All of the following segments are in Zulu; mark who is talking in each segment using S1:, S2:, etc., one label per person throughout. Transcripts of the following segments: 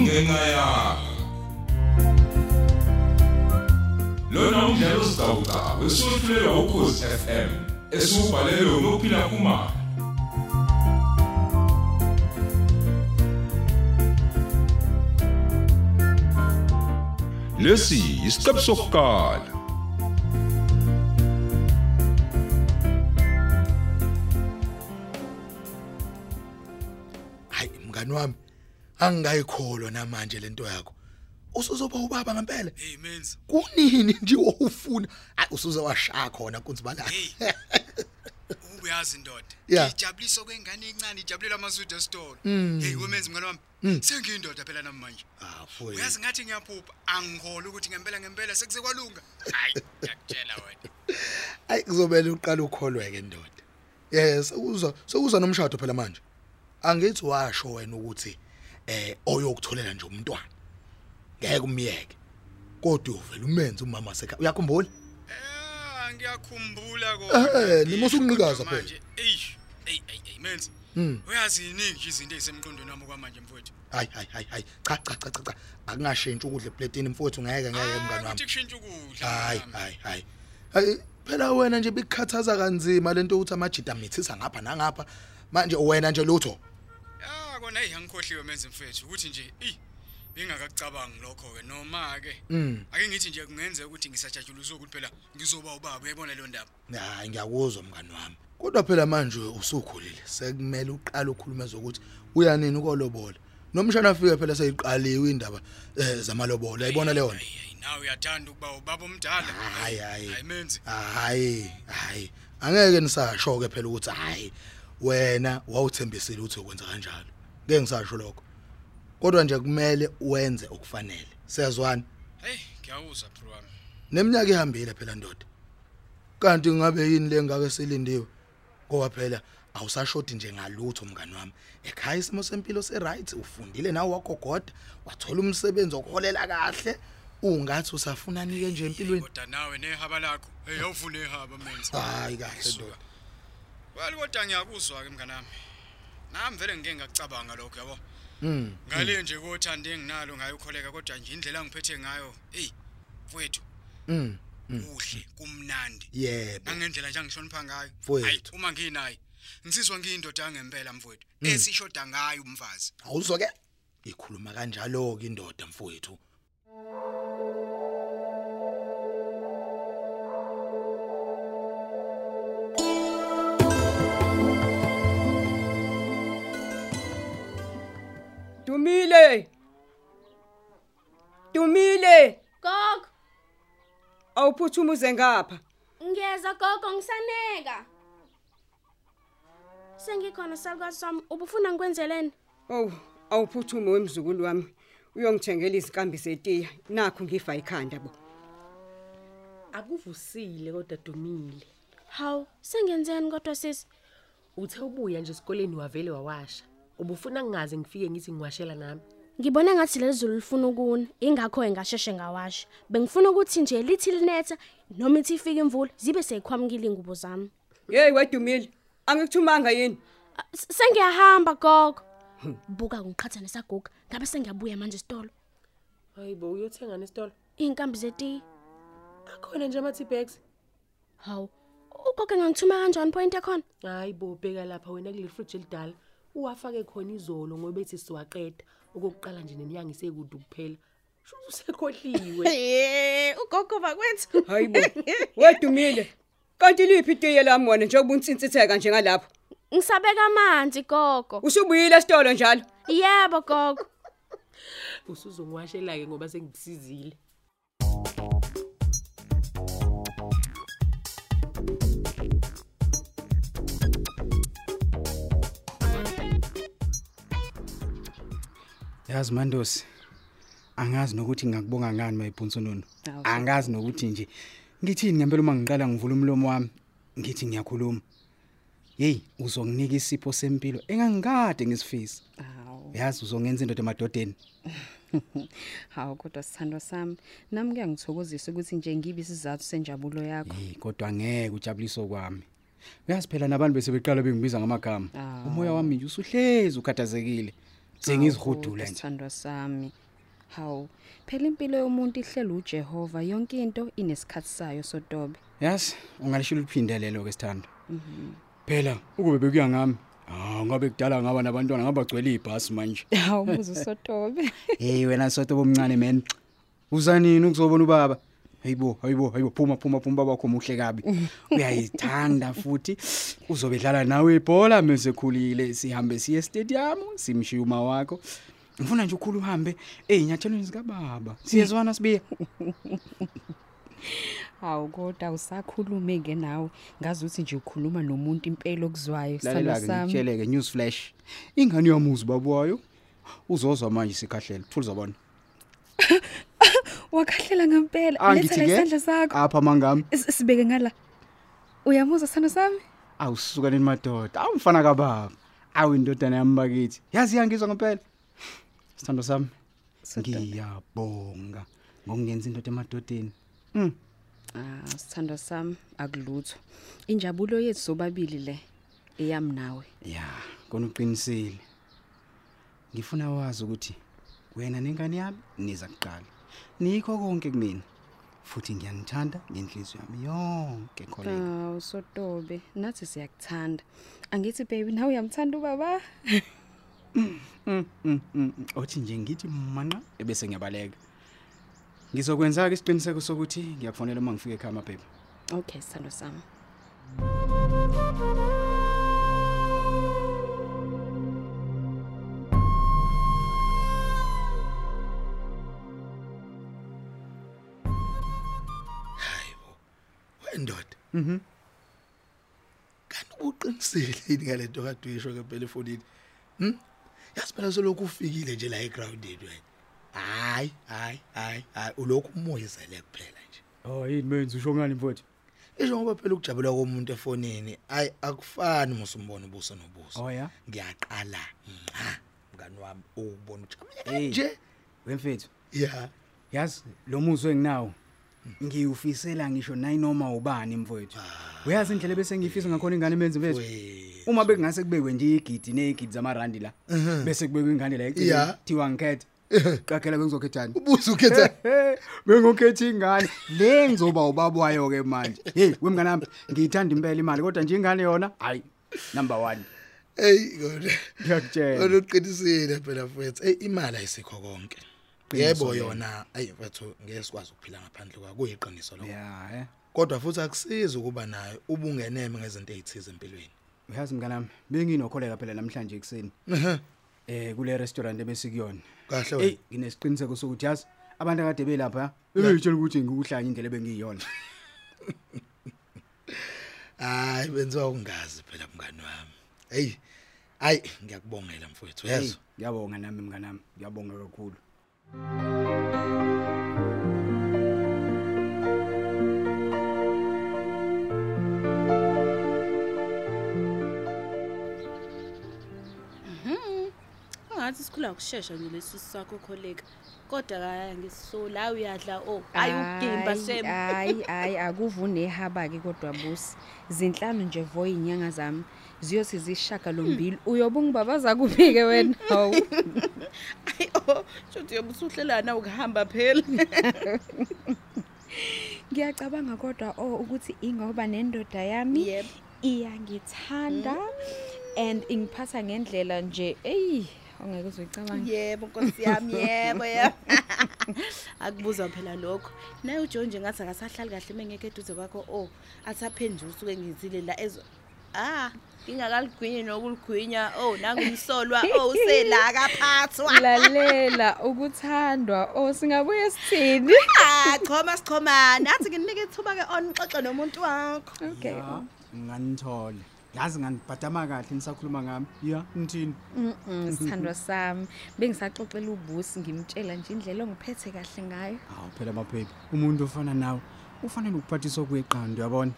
S1: encayana lona umdlalo sizawuca wesohlulelwa ukhozi FM esiubhalelwe unophila kumama lesi isiqebu sokuqala
S2: hayi mngani wami angingayikholwa namanje lento yakho usuzoba ubaba ngempela
S3: Hey menzi.
S2: kunini nje owufuna hayi usuze washaya khona kunzibalala
S3: Hey. Ubuyazi ndoda.
S2: Yeah. Hmm.
S3: Ijabuliso kwengane encane ijabulela amasudu esitolo. Hey wemenzi mngane wami. Sengiyindoda phela nami manje.
S2: afuyi
S3: Uyazi ngathi ngiyaphupha angikhole ukuthi ngempela ngempela sekuse kwalunga. Hayi ngiyakutshela wena.
S2: hayi kuzobela uqala ukholweke ndoda yes sekuzwa sekuzwa nomshado phela manje angithi washo wena ukuthi eh oyokutholela nje umntwana ngeke umyeke kodwa uvela umenze umama wasekhaya uyakhumbula
S3: Ah ngiyakhumbula
S2: Eh, nima usunginqikaza phela. Hmm.
S3: Ey ey ey menzi. Uyazi iningi nje izinto ezisemqondweni wami kwamanje mfowethu.
S2: hayi hayi hayi hayi cha cha cha cha cha akungashintshi ukudla eplatini mfowethu ngeke ngeke mngani wami
S3: Ukuthi kushintshe ukudla.
S2: hayi hayi hayi hayi phela wena nje bikukhathaza kanzima lento ukuthi amajita amithisa ngapha nangapha manje wena nje lutho
S3: Ah kona hey angikhohliwe menze mfethu ukuthi nje ey bengakacabangi lokho ke noma ke
S2: Mm.
S3: ake ngithi nje kungenzeka ukuthi ngisajatshulisa ukuthi phela ngizoba ubaba uyayibona leyo ndaba
S2: hayi ngiyakuzwa mngani wami kodwa phela manje usukhulile sekumele uqale ukhulume zokuthi uyanini ukolobola nomshana afike phela seyiqaliwe indaba eh, zamalobola uyayibona leyo nto
S3: Ayi, ayi, nawe uyathanda ukuba ubaba omdala
S2: hayi hayi
S3: menze
S2: hayi hayi angeke nisasho ke phela ukuthi hayi wena wawuthembisile ukuthi ukwenza kanjalo ngeke ngisasho lokho kodwa nje kumele wenze okufanele siyazwana
S3: hey ngiyawuza bro wami
S2: neminyaka ihambile phela ndoda kanti ngabe yini lengaka selindiwe ngoba phela awusashoti nje ngalutho mngani wami ekhaya isimo sempilo seright ufundile nawe wagogoda wathola umsebenzi okuholela kahle ungathi usafunani ke nje empilweni
S3: kodwa nawe nehaba lakho hey awufune ihaba menze
S2: hayi kahle ndoda
S3: well kodwa ngiyakuzwa ke mnganami nami vele ngike ngakucabanga lokho yabo
S2: Mm.
S3: ngale nje kothanda enginalo ngayo ukholeka kodwa nje indlela angiphethe ngayo hey mfethu
S2: Mm.
S3: kuhle kumnandi
S4: Mm.
S2: Yebo.
S3: nangendlela nje angihlonipha ngayo
S2: Mfowethu.
S3: Hayi, uma nginaye ngisizwa ngiyindoda ngempela mfowethu
S4: Mm.
S3: esishoda ngayo umfazi
S2: Awuzwa ke? Ikhuluma kanjalo ke indoda mfowethu.
S5: Dumile. Dumile,
S6: Gogo,
S5: awuphuthume uze ngapha.
S6: ngiyeza gogo ngisaneka. Sengikhona salukwazi sami, ubufuna ngikwenzeleni?
S5: Oh, awuphuthume wemzukulu wami. Uyongithengela izinkambi zetiya. Nakho ngifa ikhanda bo.
S7: akuvusile kodwa dumile
S6: Hawu, sengenzeni kodwa sisi?
S7: uthe ubuya nje esikoleni wavele wawasha ubufuna ngingaze ngifike ngithi ngiwashela nami
S6: Ngibona ngathi lezulu lifuna ukuna, ingakho engasheshe ngawasha. Bengifuna ukuthi nje lithi linetha noma ithi ifike imvula, zibe seyikhwamukile ingubo zami.
S5: Hey wedumile, angikuthumanga yini?
S6: Ah, s- Sengiyahamba gogo. Buka ngiqhathanisa gogo, ngabe sengiyabuya manje esitolo.
S7: hayibo uyothenga nesitolo
S6: Inkambi zeti.
S7: akhona nje ama-tbags
S6: Hawu, ugogo ngangithuma kanjani point ekhona?
S7: hayibo bheka lapha wena kuleli friji elidala uwafake khona izolo ngoba ethi siwaqeda okokuqala nje nenyanga isekude ukuphela shouthi usekhohliwe
S8: Eh, ugogo bakwethu.
S5: Hayibo. Wedumile. Kanti liphi itiye lami wena njengoba unsintsitheka njengalapho.
S6: Ngisabeka amanzi gogo.
S5: Usubuyile esitolo njalo.
S6: Yebo gogo.
S7: usuzongiwashela-ke ngoba sengikusizile
S4: yazi mandosi angazi nokuthi ngingakubonga ngani mayibhunsununu
S8: Hawu.
S4: angazi nokuthi nje ngithini ngempela uma ngiqala ngivula umlomo wami ngithi ngiyakhuluma yeyi uzonginika isipho sempilo engangikade ngisifisa
S8: Hawu.
S4: yazi uzongenza indoda emadodeni
S8: Hawu kodwa sithando sami, nami kuyangithokozisa ukuthi nje ngibe isizathu senjabulo yakho.
S4: yeyi kodwa ngeke ujabuliso kwami uyazi phela nabantu besebeqala bengibiza ngamagama
S8: Ah.
S4: umoya wami nje usuhlezi ukhathazekile
S8: Hawu,
S4: sengizihudula
S8: kodwa
S4: nje
S8: Sithando sami. hawu phela impilo yomuntu ihlela uJehova yonke into inesikhathi sayo sodobe
S4: yazi ungalishilo liphinde lelo ke sithando phela ukube bekuya ngami hawu ngabe kudala ngaba nabantwana ngabagcwele ibhasi manje
S8: hawu muzu sodobe
S4: hey wena soto bomncane man uzanini ukuzobona ubaba hayibo hayibo hayibo phuma phuma phuma baba wakho muhle kabi uyayithanda futhi uzobedlala nawe ibhola mesekhulile sihambe siye stadium simshiya uma wakho ngifuna nje ukukhulu uhambe eyinyathelweni zikababa siyezwana sibiya
S8: hawu kodwa usakhulume ke nawe ngazuthi nje ukhuluma nomuntu impela okuzwayo sithandwa
S4: lalela-ke
S8: sami
S4: ngikutsheleke news flash ingane yamuzi babwayo uzozwa manje sikhahlela futhi uzabona
S8: wakhahlela ngempela letha la isandla sakho
S4: Ah, apha mangami
S8: S- sibeke ngala uyamuzwa sithando sami
S4: awusukaneni madoda awumfana kababa awu indodana yami bakithi yazi iyangizwa ngempela sithando sami ngiyabonga ngokungenza indoda emadodeni
S8: ah sithando sami akulutho injabulo yethu sobabili le eyami nawe
S4: ya kona uqinisile ngifuna wazi ukuthi wena nengane yami niza kuqala nikho konke kumina futhi ngiyanithanda ngenhliziyo yami yonke kholela
S8: hawu sodobe nathi siyakuthanda angithi baby nawe uyamthanda ubaba
S4: Mm, mm, mm. othi nje ngithi manqa ebese ngiyabaleka ngizokwenza-ke isiqiniseko sokuthi ngiyakufonela uma ngifika ekhaya amabhebha
S8: okay sithando sami
S2: hayibo wendoda mhm kanti uqinisele yini ngale nto kade uyisho ke phela efonini hm yazi phela selokhu ufikile nje la egroundini wena hayi hayi hayi hayi ulokhu umoyizele kuphela nje
S4: oh yini menzi usho ngani mfowethu
S2: isho ngoba phela ukujabula komuntu efonini ayi akufani musumbona ubuso nobuso
S4: Oh, ya?
S2: ngiyaqala nqa mngani wami ukubona
S4: Hey.
S2: ujabule nje
S4: wemfethu
S2: ya
S4: yazi lo muzi enginawo ngiyufisela ngisho nayinoma ubani mfowethu uyazi indlela ebesengiyifisa ngakhona ingane menzi mfethu
S2: we
S4: uma bekungase kubekwe nje igidi neyigidi zamarandi la bese kubekwe ingane la
S2: Ya.
S4: eceleni thiwa ngikhetha qakhela bengizokhethani
S2: ubuso ukhetha
S4: bengokhetha ingane le ngizoba ubabwayo ke manje hey wemngane wami ngiyithanda impela imali kodwa nje ingane yona hayi number 1
S2: hey kodwa
S4: Ngiyakutshela.
S2: kodwa uqinisile phela mfethu hey imali ayisikho konke yebo yona ayi mfethu ngeke sikwazi ukuphila ngaphandle kwayo kuyiqiniso lokho
S4: yeah eh
S2: kodwa futhi akusizi ukuba nayo ubungeneme ngezinto ezithize empilweni
S4: uyazi mngane wami benginokholeka phela namhlanje ekuseni eh kule restaurant ebesikuyona
S2: Kahle wena.
S4: hey nginesiqiniseko sokuthi yazi abantu akade belapha bebeyitshela ukuthi ngikuhlanya indlela bengiyiyona
S2: hayi benziwa ukungazi phela mngani wami hey ayi ngiyakubongela mfowethu
S4: Hey,
S2: yezo
S4: ngiyabonga nami mngane wami ngiyabonga kakhulu
S9: angathi sikhula ngokushesha nje lesi sakho kholeka kodwa kaya ngisiso la uyadla oh. o ayi ugimba sem
S8: hayi hayi akuvune ihaba ke kodwa busi zinhlanu nje vo inyanga zami ziyothi zishaka lombili uyobe ungibabaza kuphi-ke wena hawu
S9: ayi o shuthi yoba usuhlelana ukuhamba phela
S8: ngiyacabanga kodwa o ukuthi ingoba nendoda yami
S9: Yep.
S8: iyangithanda
S5: Mm.
S8: and ingiphatha ngendlela nje eyi ongeke uzoyicabanga
S9: yebo nkosi yami yebo yebo akubuza phela lokho naye ujohn nje ngathi akasahlali kahle uma ngekho eduze kwakho oh, o asaphenje usuke ngizile la ezo ah, a ngingakaligwinyi nokuligwinya o oh, nangumsolwa oh, o usela kaphathwa
S8: lalela ukuthandwa o singabuye sithini
S9: Ah, choma sichomana athi nginike ithuba ke onixoxe nomuntu wakho
S8: okay o
S4: nganithole yazi nganibhadama kahle nisakhuluma ngami ya nithini
S8: Mm, sithandwa sami bengisaxoxela ubusi ngimtshela nje indlela ongiphethe kahle ngayo
S4: hawu phela amaphepha umuntu ofana nawe ufanele ukuphathiswa kweqanda uyabona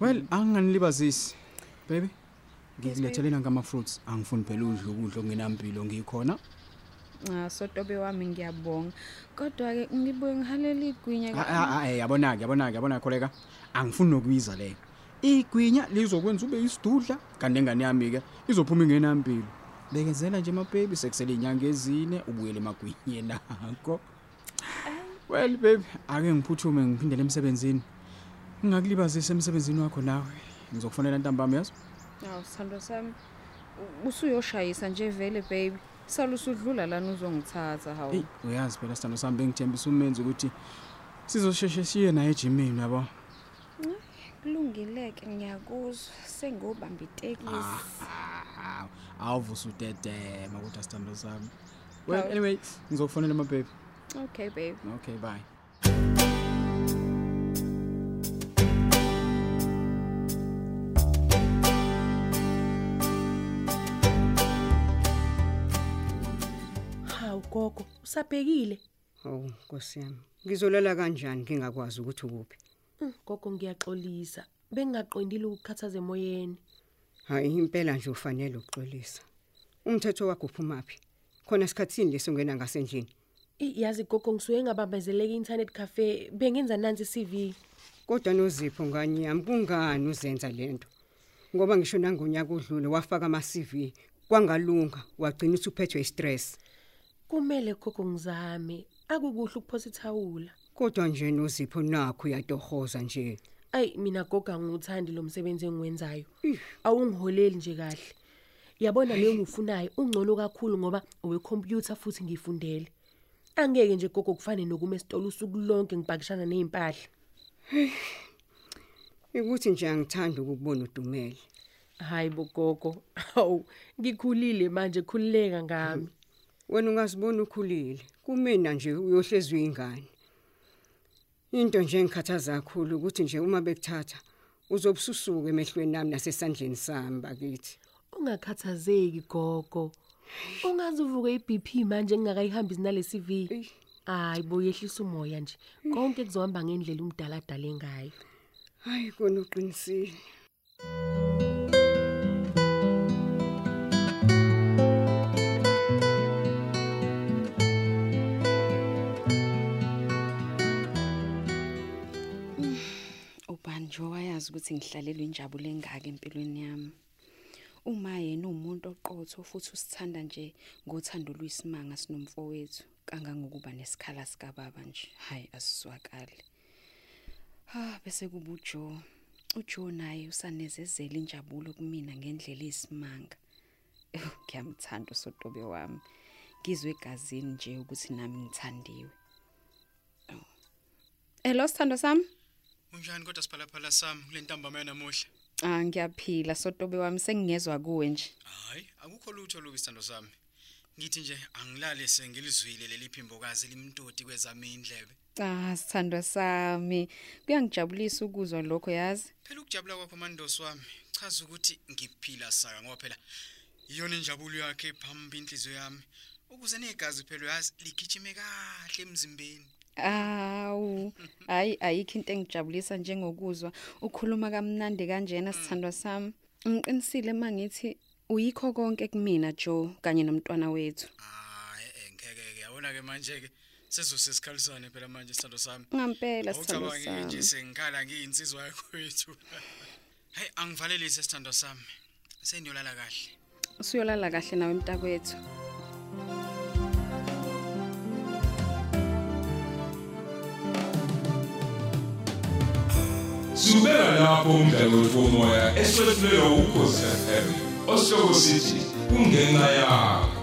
S4: well anginganilibazisi baby ngikulethelena ngama-fruits angifuni phela udla ukudla okungenampilo ngikhona
S8: Ah, sotobe wami ngiyabonga kodwa-ke ngibuye ngihalela igwinya
S4: Ah, ah, ah, eh, yabona-ke yabona-ke yabona kholeka angifuni nokuyiza leyo igwinya lizokwenza ube isidudla kanti engane yami-ke izophuma ingenampilo bekezela nje mababy sekusele inyanga ezine ubuyele emagwinye nakho well baby ake ngiphuthume ngiphindele emsebenzini ngingakulibazisa emsebenzini wakho nawe ngizokufonela ntambama yazo
S8: Aw sithando sami u- usuyoshayisa nje vele baby. Sala usudlula lana uzongithatha hawo.
S4: eyi uyazi phela sithando sami bengithembisa umenzi ukuthi sizosheshe siye naye ejimini yabo
S8: Kulungileke ngiyakuzwa sengobamba
S4: Ah,
S8: itekisi.
S4: awuvusa ah, udedema kodwa sithando sami well
S8: Hawu.
S4: anyway ngizokufonela mababy
S8: Okay baby.
S4: okay bye
S7: hawu gogo usabhekile
S5: Hawu Nkosi yami. Ngizolala kanjani ngingakwazi ukuthi ukuphi?
S7: Mm, gogo ngiyaxolisa bengingaqondile ukukhathaza emoyeni
S5: Hayi impela nje ufanele ukuxolisa. Umthetho wakho uphuma phi? Khona isikhatsini lesongena ngasendlini.
S7: I- yazi gogo ngisuke ngabambezeleka i-internet cafe bengenza nansi i-cv
S5: Kodwa nozipho ngani yami kungani uzenza lento? Ngoba ngisho nangonyaka odlule wafaka ama CV kwangalunga wagcina usuphethwe istress.
S7: kumele gogo ngizame akukuhle ukuphosa ithawula
S5: Kodwa nje nozipho nakho uyatohoza nje.
S7: ayi mina gogo angiwuthandi lo msebenzi engiwenzayo awungiholeli nje kahle yabona leyo ngifunayo ungcono kakhulu ngoba owekhompyutha futhi ngiyifundele angeke nje gogo kufane nokuma esitolo usuku lonke ngibhakishana ney'mpahla
S5: Ukuthi nje angithandi ukubona udumele.
S7: hhayi bo gogo hawu ngikhulile manje khululeka ngami
S5: Wena ungasibona ukhulile. Kumina nje uyohlezwa ingane. Into nje engikhathaza kakhulu ukuthi nje uma bekuthatha uzobususuka emehlweni nami nasesandleni sami bakithi.
S7: ungakhathazeki gogo ungaze uvuke i-bp manje ngingakayihambisi nale-cv hhayi bo yehlisa umoya nje konke kuzohamba ngendlela umdala adale ngayo
S5: Hayi kona uqinisile.
S8: Ubanjwe wayazi ukuthi ngihlalelwe injabulo engaka empilweni yami. Uma yena umuntu oqotho futhi usithanda nje ngothando lwisimanga sinomfowethu kangangokuba nesikhala sika baba nje. Hayi asizwakali. Ah bese kuba uJo. uJo naye usanezezela injabulo kumina ngendlela isimanga. Ngiyamthanda usotobe wami. Ngizwe egazini nje ukuthi nami ngithandiwe. Oh. Hello Sithando sami.
S3: Unjani kodwa siphalaphala sami kule ntambama yanamuhla?
S8: Ah ngiyaphila sotobe wami sengingezwa kuwe nje.
S3: Hayi, akukho lutho loku isithando sami. Ngithi nje angilale sengilizwile leli phimbokazi limtoti kwezami indlebe.
S8: Ah sithandwa sami. Kuyangijabulisa ukuzwa lokho yazi.
S3: Phela ukujabula kwakho mandosi wami chaza ukuthi ngiphila saka ngoba phela iyona injabulo yakhe phambi inhliziyo yami. Ukuze negazi phela uyazi ligijime kahle emzimbeni.
S8: Awu. Hayi ayikho into engijabulisa njengokuzwa ukhuluma kamnandi kanjena sithandwa sami. Ngiqinisile mangithi uyikho konke kumina Joe kanye nomntwana wethu.
S3: Hayi eh, ngeke ke yabona ke manje ke sezosesikhalisane phela manje isithando sami.
S8: Ngampela sithandwa
S3: Awucabange nje
S8: sami.
S3: sengikhala ngiyinsizwa yakwethu. Hey angivalelise sithando sami. Sengiyolala kahle.
S8: Usuyolala kahle nawe mntakwethu.
S1: sibeka lapho umdlalo womoya eswetshulelwa ukhosi fm osihloko sithi kungenxa yakho